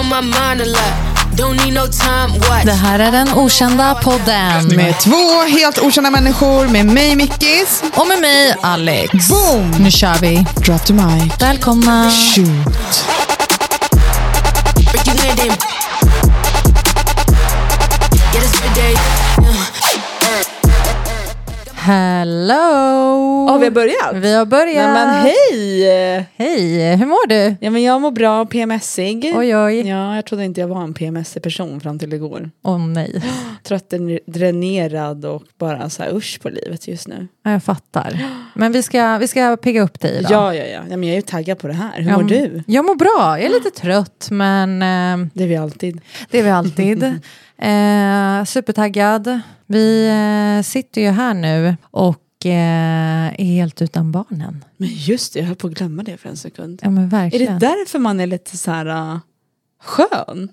on my mind a lot. Don't need no time watch. Det här är den okända podden. Med två helt okända människor, med mig Mickis. Och med mig Alex. Boom! Nu kör vi. Drop the mic. Välkomna. Shoot. Break you in them. Get us every day. Hello. Ja, vi har börjat. Vi har börjat. Nej, men hej! Hej, hur mår du? Ja, men jag mår bra och PMSig. Oj, oj. Ja, jag trodde inte jag var en PMSig person fram till igår. Åh nej, Trött, drän- dränerad och bara så här usch på livet just nu. Ja, jag fattar. Men vi ska, vi ska pigga upp dig idag. Ja, ja, ja. ja men jag är ju taggad på det här. Hur mår du? Jag mår bra, jag är lite trött men eh, Det är vi alltid. det är vi alltid. eh, supertaggad. Vi eh, sitter ju här nu och eh, är helt utan barnen. Men just det, jag höll på att glömma det för en sekund. Ja men Är verkligen. det därför man är lite så här uh, skön?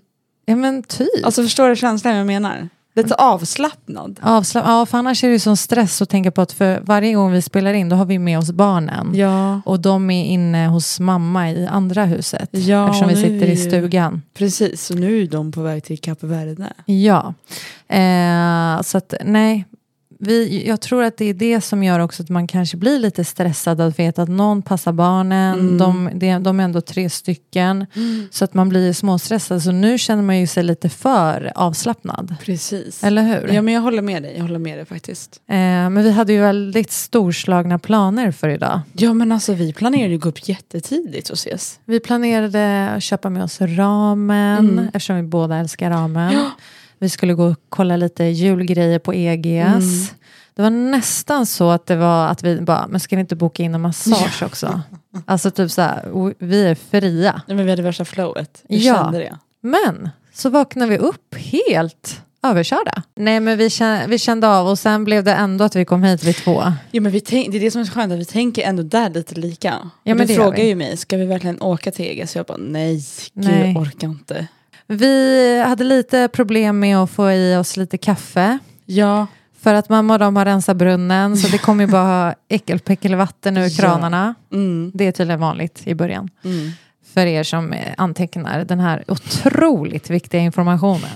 Ja men typ. Alltså förstår du känslan jag menar? Lite avslappnad. Avsla- ja, för annars är det ju sån stress att tänka på att för varje gång vi spelar in då har vi med oss barnen. Ja, Och de är inne hos mamma i andra huset Ja, eftersom vi nu sitter är i ju- stugan. precis. Så nu är de på väg till Kap Verde. Ja, eh, så att nej. Vi, jag tror att det är det som gör också att man kanske blir lite stressad att veta att någon passar barnen, Mm. de, de, de är ändå tre stycken. Så att man blir småstressad, så nu känner man ju sig lite för avslappnad. Precis. Eller hur? Ja, men jag håller med dig. Jag håller med dig faktiskt. Eh, men vi hade ju väldigt storslagna planer för idag. Ja men alltså vi planerade ju att gå upp jättetidigt och ses. Vi planerade att köpa med oss ramen, eftersom vi båda älskar ramen. Vi skulle gå och kolla lite julgrejer på EGS. Det var nästan så att det var att vi bara, men ska vi inte boka in en massage också? Alltså typ så här, o- vi är fria. Nej men vi hade värsta flowet. Jag Ja. kände det. Men så vaknade vi upp helt överkörda. Nej men vi kände, vi kände av och sen blev det ändå att vi kom hit vid två. Ja men vi tänk, det är det som är så skönt att vi tänker ändå där lite lika. Ja, men du det gör frågar vi. ju mig, ska vi verkligen åka till EG? Så jag bara nej, gud Nej. jag orkar inte. Vi hade lite problem med att få i oss lite kaffe. Ja, För att mamma och de har rensat brunnen så det kommer ju bara äckelpäckelvatten ur Ja. kranarna. mm, Det är tydligen vanligt i början. mm. För er som eh, antecknar den här otroligt viktiga informationen.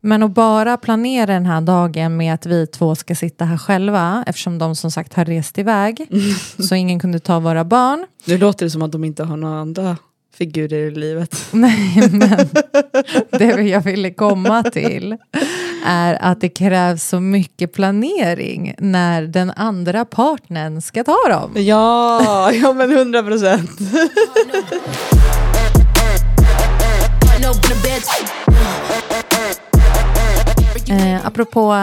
Men att bara planera den här dagen med att vi två ska sitta här själva eftersom de som sagt har rest iväg Mm. så ingen kunde ta våra barn. Nu låter det som att de inte har några andra figurer i livet. Nej, men det jag ville komma till är att det krävs så mycket planering när den andra partnern ska ta dem. Ja, ja men hundra procent. No open the bed. Break you in Eh, apropå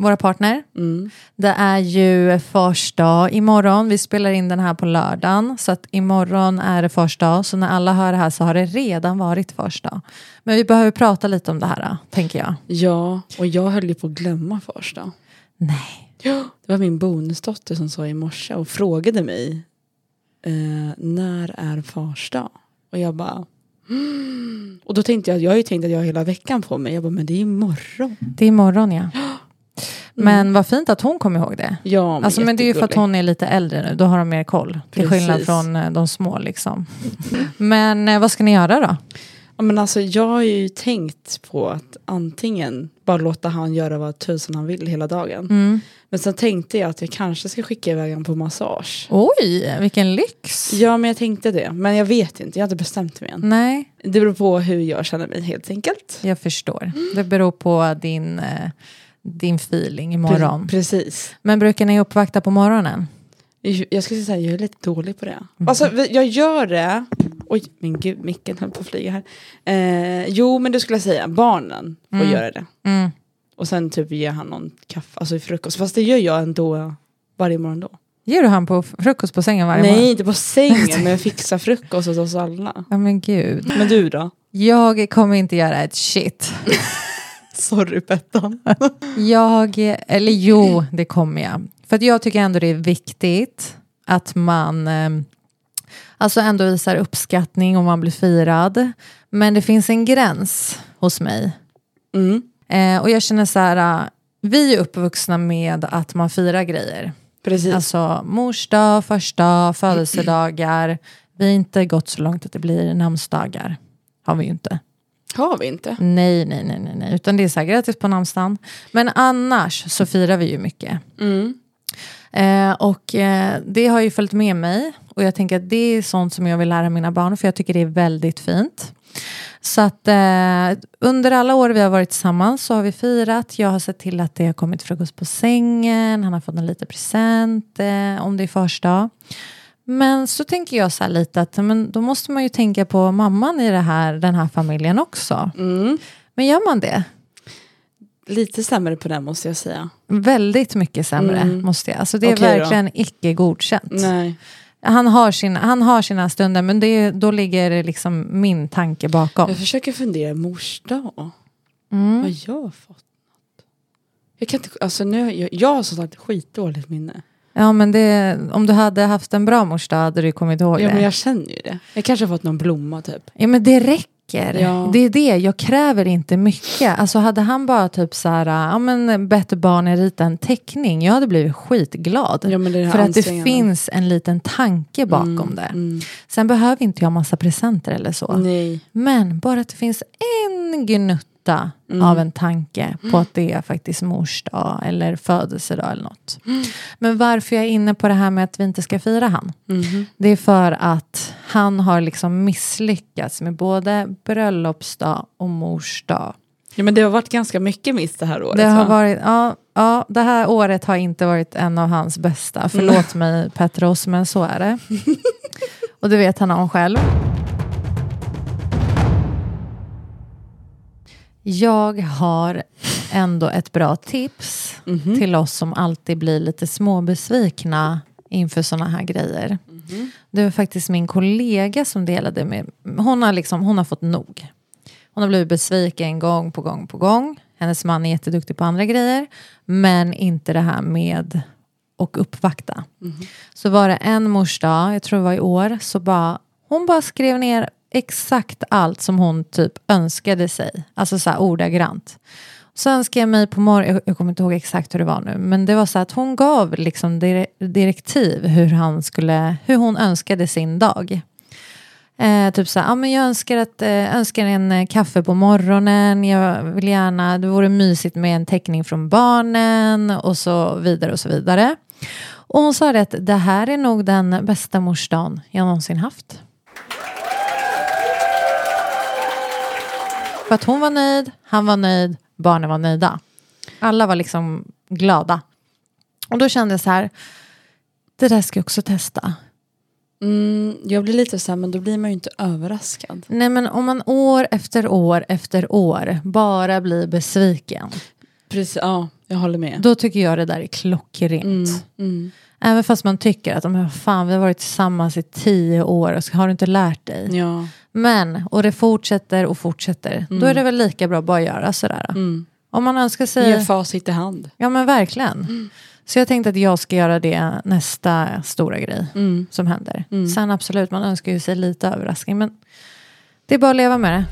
våra partner, Mm. det är ju fars dag imorgon. Vi spelar in den här på lördagen, så att imorgon är det fars dag. Så när alla hör det här så har det redan varit fars dag. Men vi behöver prata lite om det här, tänker jag. Ja, och jag höll ju på att glömma första. Nej. Ja, det var min bonusdotter som sa i morse och frågade mig eh, när är fars dag? Och jag bara mm. och då tänkte jag, jag har ju tänkt att jag har hela veckan på mig. Jag bara, men det är imorgon. Det är imorgon ja. Men vad fint att hon kom ihåg det. Ja, men, Alltså, men det är ju för att jättegullig. hon är lite äldre nu, då har de mer koll. Till Precis. skillnad från eh, de små liksom. Men eh, vad ska ni göra då? Ja, men alltså, jag har ju tänkt på att antingen bara låta han göra vad tusan han vill hela dagen. Men sen tänkte jag att jag kanske ska skicka iväg honom på massage. Oj, vilken lyx! Ja, men jag tänkte det. Men jag vet inte, jag har inte bestämt mig än. Nej, Det beror på hur jag känner mig helt enkelt. jag förstår. Det beror på din, eh, din feeling imorgon. Pre- Precis. Men brukar ni uppvakta på morgonen? Jag skulle säga att jag är lite dålig på det. Mm. Alltså vi- jag gör det. Oj, min gud, micken höll på att flyga här. Eh, jo, men det skulle jag säga, barnen får göra det. Mm. Och sen typ ger han någon kaffe, alltså i frukost. Fast det gör jag ändå varje morgon då. Ger du han på f- frukost på sängen varje Nej, morgon? inte på sängen, men jag fixar frukost åt oss alla. Ja men gud. Men du Alltså. då? Jag kommer inte göra ett shit. Sorry Bettan. Jag, eller jo, det kommer jag. För att jag tycker ändå det är viktigt att man eh, alltså ändå visar uppskattning och man blir firad. Men det finns en gräns hos mig. Mm, Eh, och jag känner så här, eh, vi är uppvuxna med att man firar grejer. precis. Alltså mors dag, fars dag, födelsedagar, Vi har inte gått så långt att det blir namnsdagar. Har vi ju inte. Har vi inte? Nej, nej, nej, nej, nej. utan det är så här, grattis på namnsdagen. Men annars så firar vi ju mycket. Eh, och eh, det har ju följt med mig och jag tänker att det är sånt som jag vill lära mina barn för jag tycker det är väldigt fint. Så att eh, under alla år vi har varit tillsammans så har vi firat. Jag har sett till att det har kommit frukost på sängen, han har fått en liten present eh, om det är första. Men så tänker jag så här lite att men då måste man ju tänka på mamman i det här, den här familjen också. Men gör man det? Lite sämre på den måste jag säga. Väldigt mycket sämre Mm. måste jag. Alltså det är Okej då. verkligen icke godkänt. Nej. Han har, sina, han har sina stunder men det, är- då ligger det liksom min tanke bakom. Jag försöker fundera, mors dag, Mm. vad jag har fått? Jag, kan inte, alltså nu, jag, jag har som sagt skitdåligt minne. Ja, men det, om du hade haft en bra mors dag hade du kommit ihåg Ja, det. men jag känner ju det. Jag kanske har fått någon blomma typ. Ja men det räcker. Ja. Det är det, jag kräver inte mycket. Alltså hade han bara typ så här, ja men bett barnen rita en teckning, jag hade blivit skitglad. Ja, men det är det För att det ansträngande. finns en liten tanke bakom det. Mm. Sen behöver inte jag massa presenter eller så. Nej. Men bara att det finns en gnutta av en tanke på att det är faktiskt mors dag eller födelsedag eller något. Men varför jag är inne på det här med att vi inte ska fira han. Det är för att han har liksom misslyckats med både bröllopsdag och mors dag. Ja, men det har varit ganska mycket miss det här året. Det har va? varit, ja, ja, det här året har inte varit en av hans bästa. Förlåt mig Petros, men så är det. Och det vet han om själv. Jag har ändå ett bra tips Mhm. till oss som alltid blir lite småbesvikna inför sådana här grejer. Mhm. Det var faktiskt min kollega som delade med Hon har, liksom, hon har fått nog. Hon har blivit besviken gång på gång på gång. Hennes man är jätteduktig på andra grejer, men inte det här med att uppvakta. Så var det en morsdag, jag tror det var i år, så bara, hon bara skrev ner exakt allt som hon typ önskade sig. Alltså så här ordagrant. Så önskade jag mig på morgonen, jag, jag kommer inte ihåg exakt hur det var nu, men det var så att hon gav liksom dire- direktiv hur, han skulle, hur hon önskade sin dag. Eh, typ så här, ah, men jag önskar, att, eh, önskar en eh, kaffe på morgonen, jag vill gärna, det vore mysigt med en teckning från barnen och så vidare och så vidare. Och hon sa det att det här är nog den bästa morsdagen jag någonsin haft. För att hon var nöjd, han var nöjd, barnen var nöjda. Alla var liksom glada. Och då kände jag så här, det där ska jag också testa. Mm, jag blir lite så här, men då blir man ju inte överraskad. Nej men om man år efter år efter år bara blir besviken. Precis, ja, jag håller med. Då tycker jag det där är klockrent. Mm. Även fast man tycker att men vad fan, vi har varit tillsammans i tio år och har du inte lärt dig? Ja. Men, och det fortsätter och fortsätter. Då är det väl lika bra att bara göra sådär. Om man önskar sig... Ge facit i hand. Ja men verkligen. Så jag tänkte att jag ska göra det nästa stora grej som händer. Sen absolut, man önskar ju sig lite överraskning men det är bara att leva med det.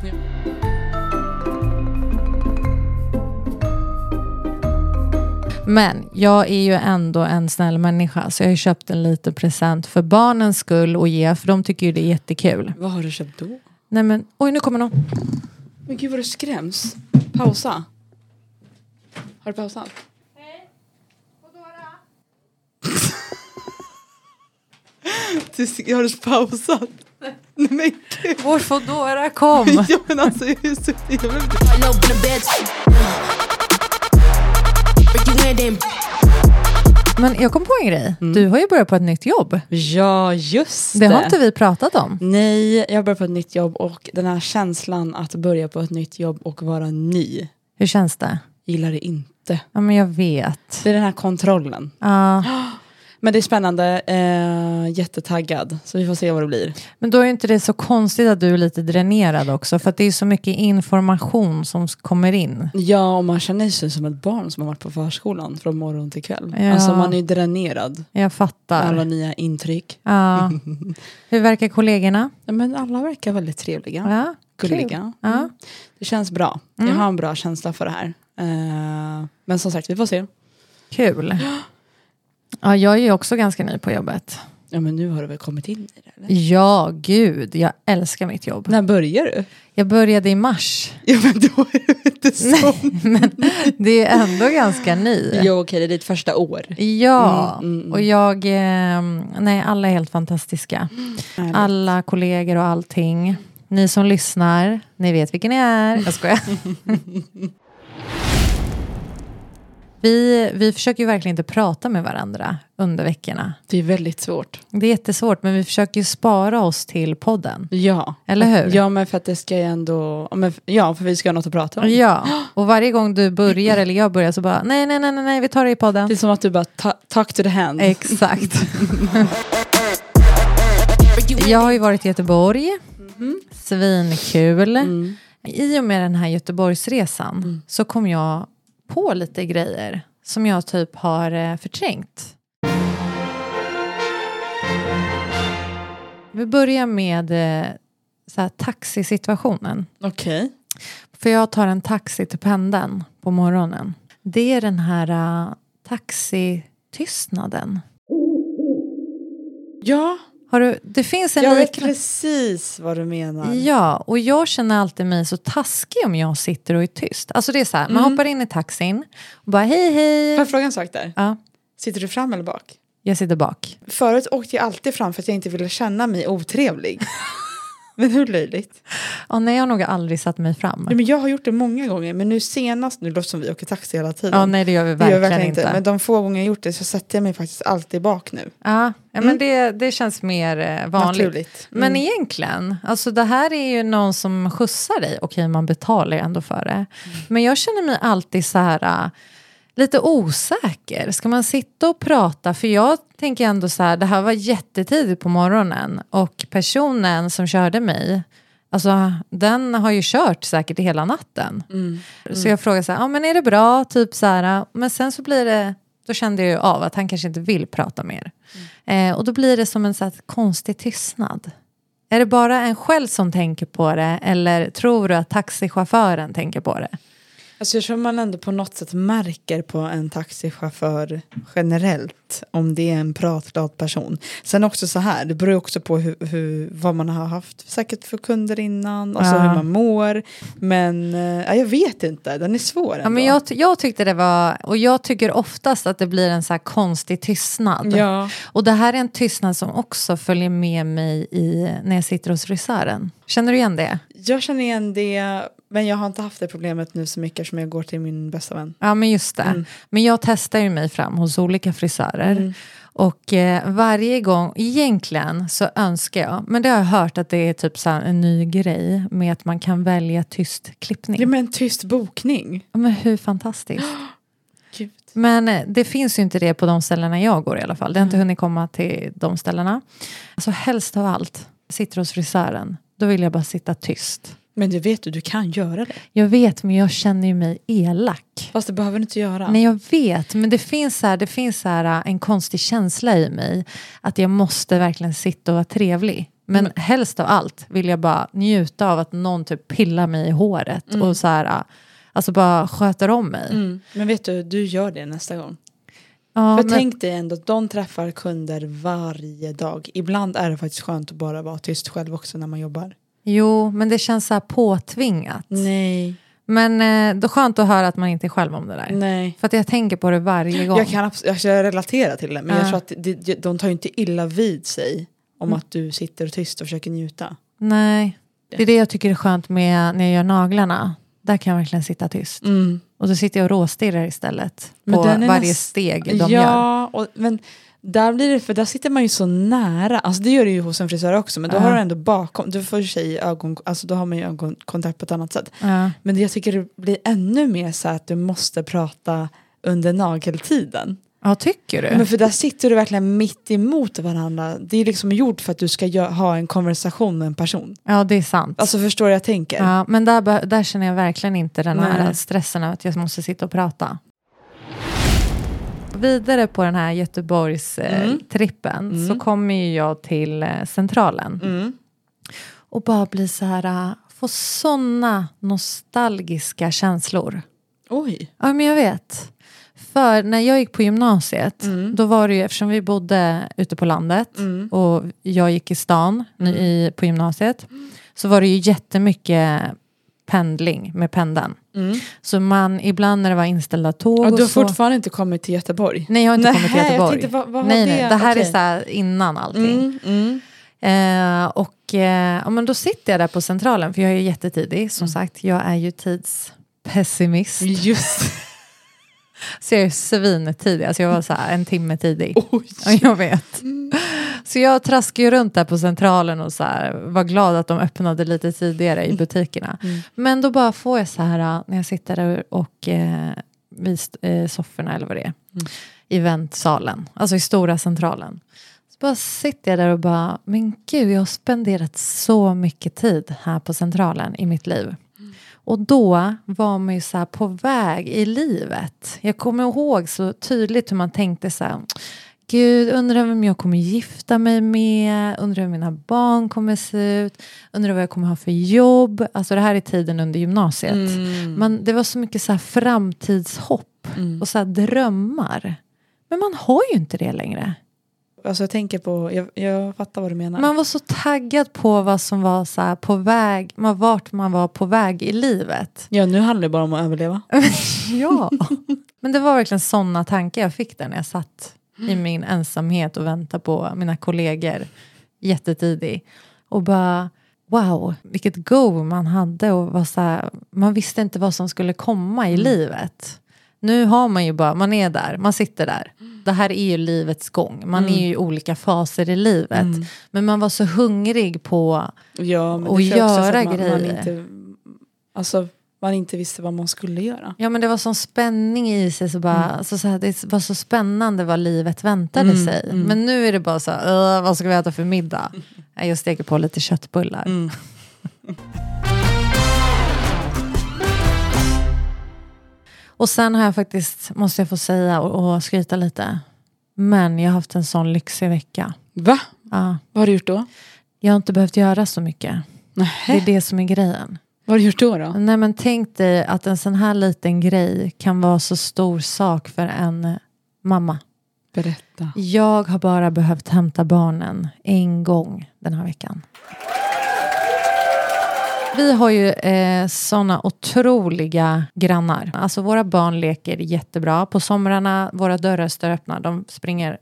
Men jag är ju ändå en snäll människa så jag har ju köpt en liten present för barnens skull och ge för de tycker ju det är jättekul. Vad har du köpt då? Nej men oj nu kommer någon. Men gud vad du skräms. Pausa. Har du pausat? Du, har du pausat? Nej men gud. Vår Foodora kom. Ja men alltså jag är så jävla... All up in the bed. Break you in, damn. Men jag kom på en grej. Du har ju börjat på ett nytt jobb. Ja just Mm. Det har inte vi pratat om. Nej, jag börjar på ett nytt jobb och den här känslan att börja på ett nytt jobb och vara ny Hur känns det? gillar det inte. Ja, men jag vet. Det är den här kontrollen. Ja. Men det är spännande, eh, jättetaggad. Så vi får se vad det blir. Men då är ju inte det så konstigt att du är lite dränerad också. För att det är så mycket information som s- kommer in. Ja, och man känner sig som ett barn som har varit på förskolan från morgon till kväll. Ja. Alltså man är ju dränerad. Jag Alla fattar. nya intryck. Ja. Hur verkar kollegorna? Ja, Men alla verkar väldigt trevliga. Ja. Mm. Gulliga. Ja. Mm. Det känns bra. Jag har en bra känsla för det här. Eh, men som sagt, vi får se. Kul. Ja, jag är ju också ganska ny på jobbet. Ja men nu har du väl kommit in i det eller? Ja, gud. Jag älskar mitt jobb. När börjar du? Jag började i mars. Ja men då är det inte så. Det är ändå ganska ny. Jo okej, det är ditt första år. Ja, Mm, mm, mm. och jag... ehm, nej, alla är helt fantastiska. Alla kollegor och allting. Ni som lyssnar, ni vet vilken ni är. Jag skojar. Vi, vi försöker ju verkligen inte prata med varandra under veckorna. Det är väldigt svårt. Det är jättesvårt, men vi försöker ju spara oss till podden. Ja. Eller hur? Ja men för att det ska ju ändå, ja, men, ja för vi ska ha något att prata om. Ja, och varje gång du börjar eller jag börjar så bara nej, nej, nej, nej, nej vi tar det i podden. Det är som att du bara ta- talk to the hand. Exakt. Jag har ju varit i Göteborg. Svinkul. I och med den här Göteborgsresan så kom jag på lite grejer som jag typ har eh, förträngt. Vi börjar med eh, så här, taxisituationen. Okej. För jag tar en taxi till pendeln på morgonen. Det är den här uh, taxitystnaden. Ja, Har du, det finns en jag vet liknande- precis vad du menar. Ja, och jag känner alltid mig så taskig om jag sitter och är tyst. Alltså det är så här, Mm. man hoppar in i taxin och bara hej Får hej. jag fråga en sak där? Ja, Sitter du fram eller bak? jag sitter bak. Förut åkte jag alltid fram för att jag inte ville känna mig otrevlig. men hur löjligt? Ja, nej, jag har nog aldrig satt mig fram. Nej, men jag har gjort det många gånger, men nu senast, nu låter det som vi åker taxi hela tiden. Ja, nej det gör vi det gör verkligen, jag verkligen inte. inte. Men de få gånger jag gjort det så sätter jag mig faktiskt alltid bak nu. Ja, ja, Mm. men det, det känns mer eh, vanligt. Naturligt. Men egentligen, alltså det här är ju någon som skjutsar dig. Okej, man betalar ju ändå för det. Men jag känner mig alltid så här äh, lite osäker. Ska man sitta och prata? För jag tänker ändå så här, det här var jättetidigt på morgonen och personen som körde mig Alltså, den har ju kört säkert hela natten. Så jag frågar så här, ah, men är det bra? Typ så här, ah, men sen så blir det, då kände jag ju av att han kanske inte vill prata mer. Eh, och då blir det som en så här, konstig tystnad. Är det bara en själv som tänker på det eller tror du att taxichauffören tänker på det? Alltså jag tror man ändå på något sätt märker på en taxichaufför generellt om det är en pratglad person. Sen också så här, det beror ju också på hur, hur, vad man har haft säkert för kunder innan, alltså Ja. hur man mår. Men eh, ja, jag vet inte, den är svår ändå. Ja, men jag, ty- jag tyckte det var, och jag tycker oftast att det blir en så här konstig tystnad. Ja. Och det här är en tystnad som också följer med mig i, när jag sitter hos frisören. Känner du igen det? jag känner igen det, men jag har inte haft det problemet nu så mycket som jag går till min bästa vän. Ja, men just det. Men jag testar ju mig fram hos olika frisörer. Och eh, varje gång, egentligen så önskar jag, men det har jag hört att det är typ så här en ny grej med att man kan välja tyst klippning. Det är med en tyst bokning. Ja, Men hur fantastiskt. Gud. Men eh, det finns ju inte det på de ställena jag går i alla fall. Det har inte hunnit komma till de ställena. Alltså helst av allt, sitter hos frisören, då vill jag bara sitta tyst. Men du vet du, du kan göra det. Jag vet, men jag känner ju mig elak. Fast det behöver du inte göra. Nej jag vet, men det finns, så här, det finns så här, en konstig känsla i mig att jag måste verkligen sitta och vara trevlig. Men Mm. helst av allt vill jag bara njuta av att någon typ pillar mig i håret och så här, alltså bara sköter om mig. Mm. Men vet du, du gör det nästa gång. Ja, För men, tänk dig ändå, de träffar kunder varje dag. Ibland är det faktiskt skönt att bara vara tyst själv också när man jobbar. Jo, men det känns så här påtvingat. Nej. Men eh, då skönt att höra att man inte är själv om det där. Nej. För att jag tänker på det varje gång. Jag kan, abs- jag kan relatera till det, men jag Ja. tror att de, de tar ju inte illa vid sig om att du sitter tyst och försöker njuta. Nej, det är det jag tycker är skönt med när jag gör naglarna. Där kan jag verkligen sitta tyst. Mm. Och då sitter jag och råstirrar istället Men på den är varje näst- steg de gör. ja, och, men där blir det, för där sitter man ju så nära. Alltså det gör du ju hos en frisör också, men då Ja. har du ändå bakom, du får i och för sig ögon, alltså då har man ju ögonkontakt på ett annat sätt. Ja. Men det- jag tycker det blir ännu mer så här att du måste prata under nageltiden. ja, tycker du? Men för där sitter du verkligen mitt emot varandra. Det är liksom gjort för att du ska gö- ha en konversation med en person. Ja, det är sant. Alltså förstår du jag tänker? ja, men där, be- där känner jag verkligen inte den här Nej. stressen av att jag måste sitta och prata. Vidare på den här Mm. Göteborgs-trippen så kommer ju jag till eh, Centralen. Mm. Och bara bli så här, eh, få såna nostalgiska känslor. Oj. Ja, men jag vet. För när jag gick på gymnasiet, Mm. då var det ju, eftersom vi bodde ute på landet och jag gick i stan Mm. i, på gymnasiet, så var det ju jättemycket pendling med pendeln. Så man, ibland när det var inställda tåg och Och Mm. du har så... fortfarande inte kommit till Göteborg? Nej, jag har inte Nähä, kommit till jag Göteborg. tänkte, vad- vad har nej, nej, det- det här är okej. så här innan allting. Mm, mm. Eh, och eh, ja, men då sitter jag där på centralen, för jag är ju jättetidig. Mm. Som sagt, jag är ju tidspessimist. Just Så jag är svintidig, alltså jag var så här en timme tidig. Oj. Ja, jag vet. Så jag traskade ju runt där på centralen och så här, var glad att de öppnade lite tidigare i butikerna. Men då bara får jag så här äh, när jag sitter där och eh, vid eh, sofforna eller vad det är, i väntsalen, alltså i stora centralen. Så bara sitter jag där och bara, men gud jag har spenderat så mycket tid här på centralen i mitt liv. Och då var man ju så här på väg i livet. Jag kommer ihåg så tydligt hur man tänkte så här. Gud, undrar vem jag kommer gifta mig med, undrar hur mina barn kommer se ut, undrar vad jag kommer ha för jobb. Alltså det här är tiden under gymnasiet. Men det var så mycket så här framtidshopp och så här drömmar. Men man har ju inte det längre. Alltså jag tänker på, jag, jag fattar vad du menar. Man var så taggad på vad som var så här på väg, man- vart man var på väg i livet. Ja, nu handlar det bara om att överleva. Ja, men det var verkligen sådana tankar jag fick där när jag satt i min ensamhet och väntade på mina kollegor jättetidig. Och bara, wow, vilket go man hade och var så här, man visste inte vad som skulle komma i livet. Nu har man ju bara, man är där, man sitter där. Det här är ju livets gång, man är ju i olika faser i livet. Men man var så hungrig på Ja, men Och det tror jag också göra att man, Man grejer. inte, alltså, man inte visste vad man skulle göra. Ja men det var sån spänning i sig, så bara, Mm. så så här, det var så spännande vad livet väntade sig. mm. Men nu är det bara så här, "Åh, vad ska vi äta för middag? Nej, Jag steker på lite köttbullar. Mm. och sen har jag faktiskt, måste jag få säga och, och skryta lite, men jag har haft en sån lyxig vecka. Va? Ja, Vad har du gjort då? jag har inte behövt göra så mycket. Det Nähä. är det som är grejen. Vad har du gjort då? då? Nej men tänk dig att en sån här liten grej kan vara så stor sak för en eh, mamma. Berätta. Jag har bara behövt hämta barnen en gång den här veckan. Vi har ju eh, såna otroliga grannar. Alltså våra barn leker jättebra. På somrarna, våra dörrar står öppna. De springer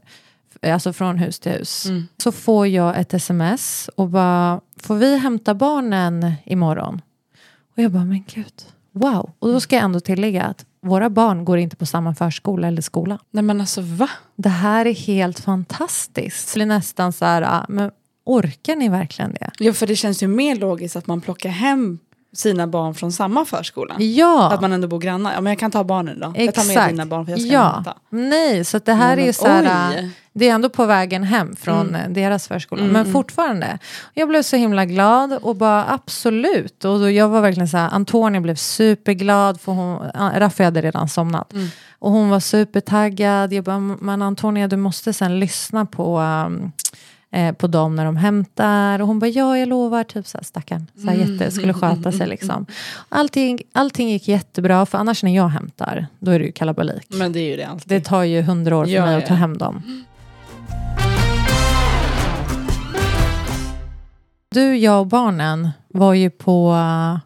eh, alltså från hus till hus. Så får jag ett sms och bara, får vi hämta barnen imorgon? Och jag bara, men gud, wow. Och då ska jag ändå tillägga att våra barn går inte på samma förskola eller skola Nej men alltså va? det här är helt fantastiskt. Det blir nästan så här, ah, men orkar ni verkligen det? Ja för det känns ju mer logiskt att man plockar hem sina barn från samma förskola. Ja, Att man ändå bor grannar. Ja men jag kan ta barnen då. exakt. Jag tar med dina barn för jag ska ja. hämta. Nej, så att det här Men är ju så här, oj. Mm. ah, det är ändå på vägen hem från eh, deras förskola. Men fortfarande, jag blev så himla glad och bara absolut. Och då, jag var verkligen så här, Antonia blev superglad för hon, ah, Raffi hade redan somnat. Mm. Och hon var supertaggad. Jag bara, men Antonia du måste sen lyssna på um, eh, på dem när de hämtar. Och hon bara, ja jag lovar, typ så här, stackaren. Så Mm. här, jätte, skulle sköta sig liksom. Allting, allting gick jättebra, för annars när jag hämtar, då är det ju kalabalik. Men det är ju det alltid. Det tar ju hundra år för Ja, mig att ja. ta hem dem. Du, jag och barnen var ju på uh,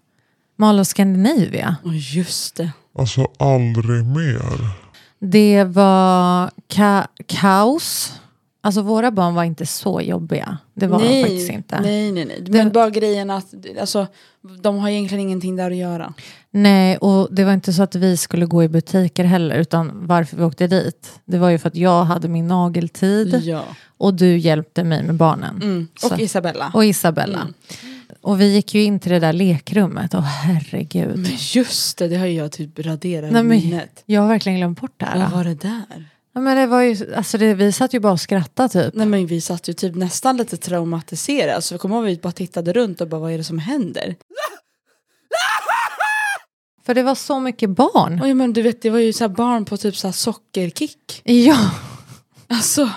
Mall of Scandinavia. Och just det. Alltså aldrig mer. Det var ka- kaos. Alltså våra barn var inte så jobbiga. Det var de faktiskt inte. nej, nej, nej. Men bara grejen att alltså, de har egentligen ingenting där att göra. Nej, och det var inte så att vi skulle gå i butiker heller, utan varför vi åkte dit, det var ju för att jag hade min nageltid Ja. Mm. och du hjälpte mig med barnen. Så- Och Isabella. och Isabella. Mm. Och vi gick ju in till det där lekrummet, åh herregud. Men just det, det har ju jag typ raderat Nej, i men, minnet. jag har verkligen glömt bort det här. Vad var det där? Ja, men det var ju, alltså det, vi satt ju bara och skrattade typ. Nej men vi satt ju typ nästan lite traumatiserade. Alltså vi kommer ihåg att vi bara tittade runt och bara vad är det som händer? För det var så mycket barn. Oj men du vet det var ju så här barn på typ så här sockerkick. Ja. Alltså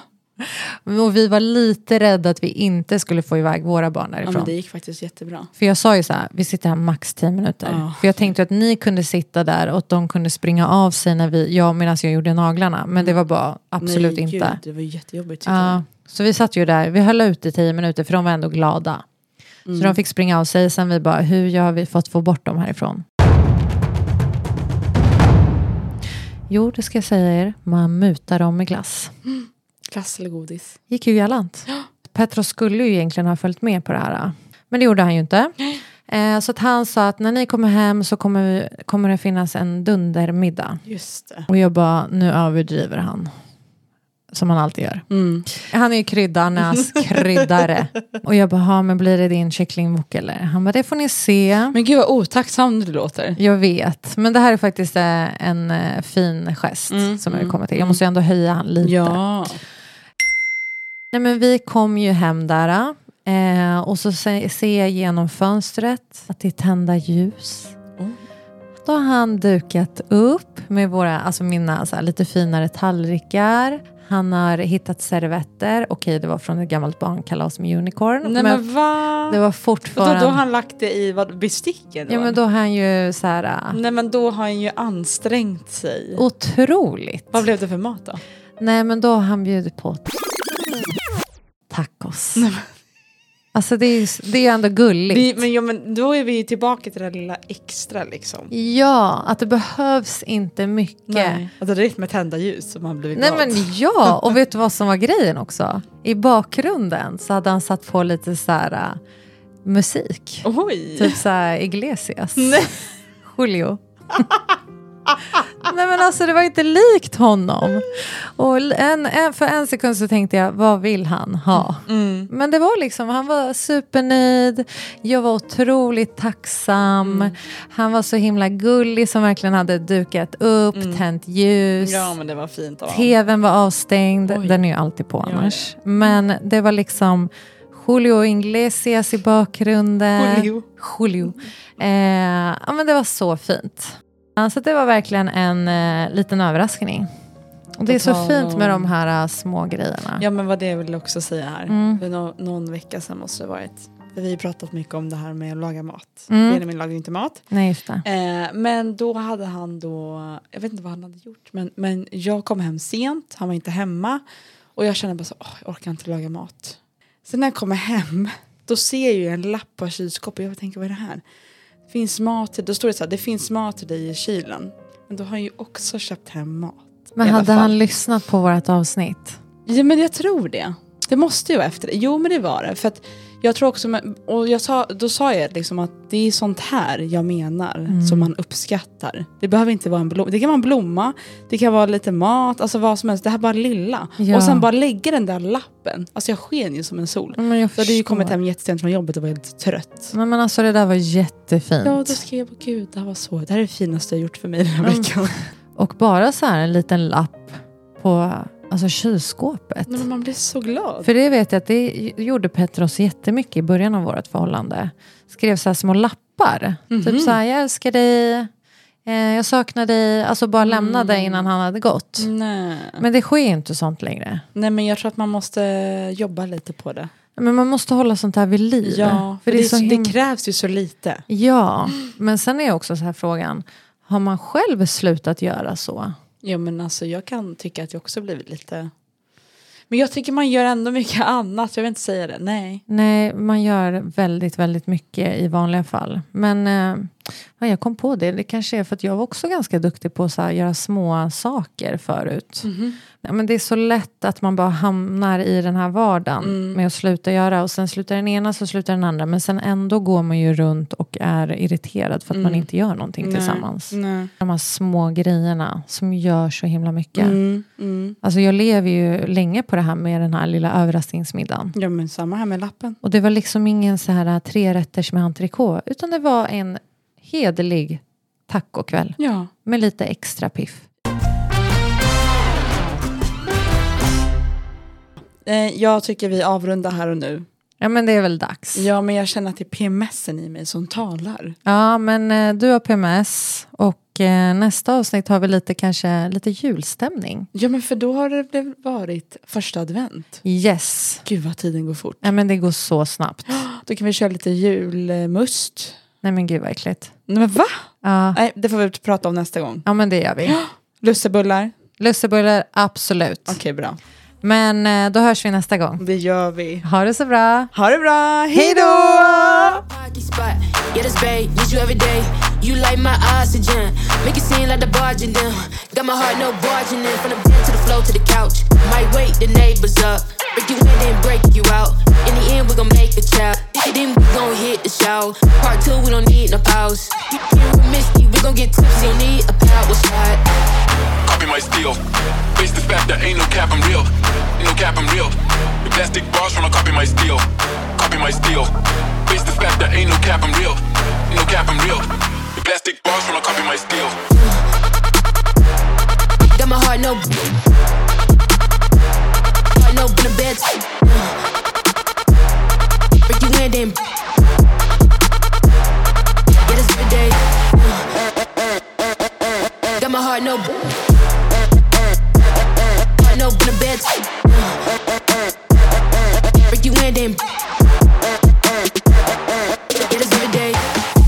Och vi var lite rädda att vi inte skulle få iväg våra barn Ja, därifrån. men det gick faktiskt jättebra. För jag sa ju så här, vi sitter här max 10 minuter. Ja. För jag tänkte att ni kunde sitta där och att de kunde springa av sig när vi, jag, medan jag gjorde naglarna. Men det var bara absolut Mm. Nej, inte. Gud, det var jättejobbigt. tyckte Ja, så vi satt ju där, vi höll ut i 10 minuter för de var ändå glada. Så de fick springa av sig, sen vi bara, hur gör vi för att få bort dem härifrån? Jo, det ska jag säga er, man mutar dem med glass. jag. Glass eller godis? Gick ju galant. Petros skulle ju egentligen ha följt med på det här. Men det gjorde han ju inte. Eh, så att han sa att när ni kommer hem så kommer, vi, kommer det finnas en dundermiddag. Just det. Och jag bara, nu överdriver han. Som han alltid gör. Mm. Han är ju kryddarnas kryddare. Och jag bara, "Ha, men blir det din kycklingwok eller? Han bara, det får ni se. Men gud vad otacksam du låter. Jag vet, men det här är faktiskt eh, en eh, fin gest Mm, som jag vill mm, komma till. Jag måste ju ändå höja han lite. Ja. Nej, men vi kom ju hem där eh, och så se- ser jag genom fönstret att det är tända ljus. Oh. Då har han dukat upp med våra, alltså mina så här, lite finare tallrikar. Han har hittat servetter. Okej, det var från ett gammalt barnkalas med unicorn. Nej men, men va? det var Och då, fortfarande... då har han lagt det i vad, besticken? ja, men då har han ju så här... äh, Nej men då har han ju ansträngt sig. Otroligt. Vad blev det för mat då? Nej, men då har han bjudit på tacos. Alltså det är ju det är ju ändå gulligt. Vi, men, ja, men då är vi ju tillbaka till det där lilla extra liksom. Ja, att det behövs inte mycket. Nej. Att Alltså, det räckt med tända ljus som han blivit glad. men ja, och vet du vad som var grejen också? I bakgrunden så hade han satt på lite så här äh, musik. Oj! Typ så här Iglesias. Julio. Nej men alltså det var inte likt honom. Och en, en, för en sekund så tänkte jag, vad vill han ha? Mm. Men det var liksom, han var supernöjd, jag var otroligt tacksam, Mm. han var så himla gullig som verkligen hade dukat upp, tänt ljus. Mm. Ja men det var fint av honom. TVn var avstängd, Oj. den är ju alltid på Ja, annars. Men det var liksom Julio Iglesias i bakgrunden. Julio. Julio. Eh, ja, men det var så fint. Ja, Så det var verkligen en eh, liten överraskning. Och det är så På tal fint med de om- här eh, små grejerna. Ja men vad det vill jag också säga här. Mm. För nå- någon vecka sedan måste det varit. För vi har ju pratat mycket om det här med att laga mat. Mm. Benjamin lagar ju inte mat. Nej, just det. Eh, men då hade han då, jag vet inte vad han hade gjort, men, men jag kom hem sent, han var inte hemma och jag kände bara så, åh, jag orkar inte laga mat. Sen när jag kommer hem, då ser jag ju en lapp på kylskåpet, jag tänker vad är det här? Det finns mat till, då står det så här, det finns mat till dig i kylen. Men då har han ju också köpt hem mat. Men i alla hade fall. han lyssnat på vårt avsnitt? Ja men jag tror det. Det måste ju vara efter det. Jo men det var det. För att jag tror också, men- och jag sa, då sa jag liksom att det är sånt här jag menar som man uppskattar. Det behöver inte vara en blomma, det kan vara en blomma, det kan vara lite mat, alltså vad som helst. Det här bara lilla. Ja. Och sen bara lägga den där lappen. Alltså jag sken ju som en sol. Ja, Men jag Så hade ju förstår. kommit hem jättesent från jobbet och var helt trött. Nej, men alltså det där var jättefint. Ja, då skrev jag, bara, gud det här var så, det här är det finaste jag gjort för mig den här veckan. Och bara så här en liten lapp på alltså, kylskåpet. Nej, men man blir så glad. För det vet jag att det gjorde Petros jättemycket i början av vårt förhållande. Skrev så här små lappar. Typ så här, jag älskar dig, eh, jag saknar dig. Alltså bara lämnade innan han hade gått. Nej. Men det sker ju inte sånt längre. Nej men jag tror att man måste jobba lite på det. Men man måste hålla sånt här vid liv. Ja, för det, är så him- det krävs ju så lite. Ja, men sen är också så här frågan. Har man själv slutat göra så? Ja, men alltså, jag kan tycka att jag också blivit lite... Men jag tycker man gör ändå mycket annat, jag vill inte säga det. Nej. Nej, man gör väldigt, väldigt mycket i vanliga fall. Men eh, ja, jag kom på det, det kanske är för att jag var också ganska duktig på att så här, göra små saker förut. Mhm. Ja, men det är så lätt att man bara hamnar i den här vardagen Mm. med att sluta göra och sen slutar den ena så slutar den andra men sen ändå går man ju runt och är irriterad för att man inte gör någonting tillsammans. Mm. Nej. De här små grejerna som gör så himla mycket. Mm, mm. Alltså jag lever ju länge på det här med den här lilla överraskningsmiddagen. Ja, men samma här med lappen. Och det var liksom ingen så här trerätters med entrecote utan det var en hederlig tacokväll Ja. med lite extra piff. Eh, jag tycker vi avrundar här och nu. Ja men det är väl dags. Ja, Ja, men jag känner att det är PMSen i mig som talar. men eh, du har PMS och eh, nästa avsnitt har vi lite kanske lite julstämning. Ja, men för då har det väl varit första advent. Yes. Gud vad tiden går fort. Ja men det går så snabbt. Då kan vi köra lite julmust. Nej men gud vad äckligt. Nej, men va? Ja. Nej, det får vi prata om nästa gång. ja men det gör vi. Lussebullar? Lussebullar, absolut. Okej, bra. Men eh, då hörs vi nästa gång. Det gör vi. Ha det så bra. Ha det bra, hej då! Party spot. Yeah, that's bae. Need you every day. You light my oxygen. Make it seem like the barging down. Got my heart no barging in. From the bed to the floor to the couch. Might wake the neighbors up. Break you in, then break you out. In the end, we gon' make a child. Then we gon' hit the show. Part two, we don't need no pause. Here with Misty, we gon' get tipsy. Don't need a power shot. copy my steal. Face the fact that ain't no cap, I'm real. Ain't no cap, I'm real. The plastic bars from a copy my steal. Copy my steal. Face the fact that ain't no cap, I'm real. Ain't no cap, I'm real. The plastic bars from a copy my steal. Got my heart no. Heart no in the bed. Break you in, then. Get us every day. Got my heart no. Heart no in the bed. Break you in, then. Get us every day.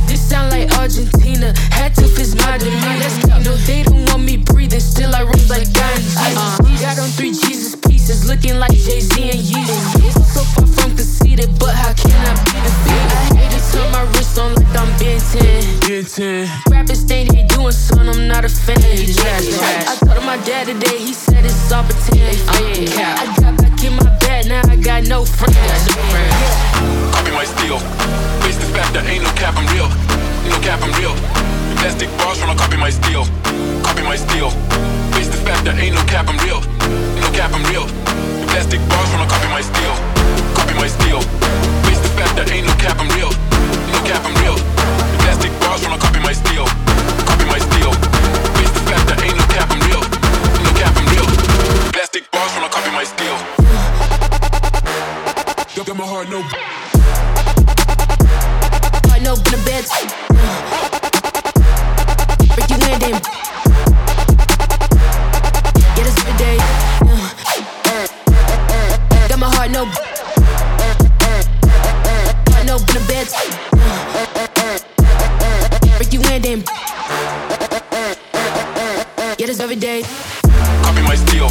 This sound like Argentina. Had to fix my demeanor. Let's go. No, they don't want me breathing. Still, I rooms like diamonds. Uh, got on three Jesus pieces, looking like Jay Z and Yeezy. So far from conceited, but how can I be defeated? I hate it on my wrist on like I'm Ben 10. Get 10. Rappers think they doing son, I'm not a fan. I told him my dad today, he said it's all pretend. I got back in my bed, now I got no friends. Copy my steal. Face the fact that ain't no cap, I'm real. Ain't no cap, I'm real. The plastic bars from a copy my steal. Copy my steal. Face the fact that ain't no cap, I'm real. Ain't no cap, I'm real. The plastic bars from a copy my steal. Copy my steal. Face the fact that ain't no cap, I'm real. Ain't no cap, I'm real. The plastic bars from a copy my steal. Copy my steal. Face the fact that ain't no cap, I'm real. Ain't no cap, I'm real. The plastic bars from a copy my steal. Got my heart no. Heart no in the bed. Break you in, then. Get us every day. Got my heart no. Heart no in the bed. Break you in, then. Get us every day. copy my steal.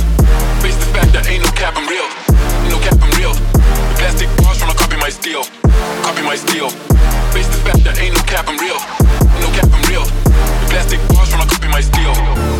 Face the fact that ain't no cap, I'm real. Ain't no cap, I'm real. The plastic bars from a copy my steal. Copy my steal. Face the fact that ain't no cap, I'm real. Ain't no cap, I'm real. The plastic bars from a copy my steal.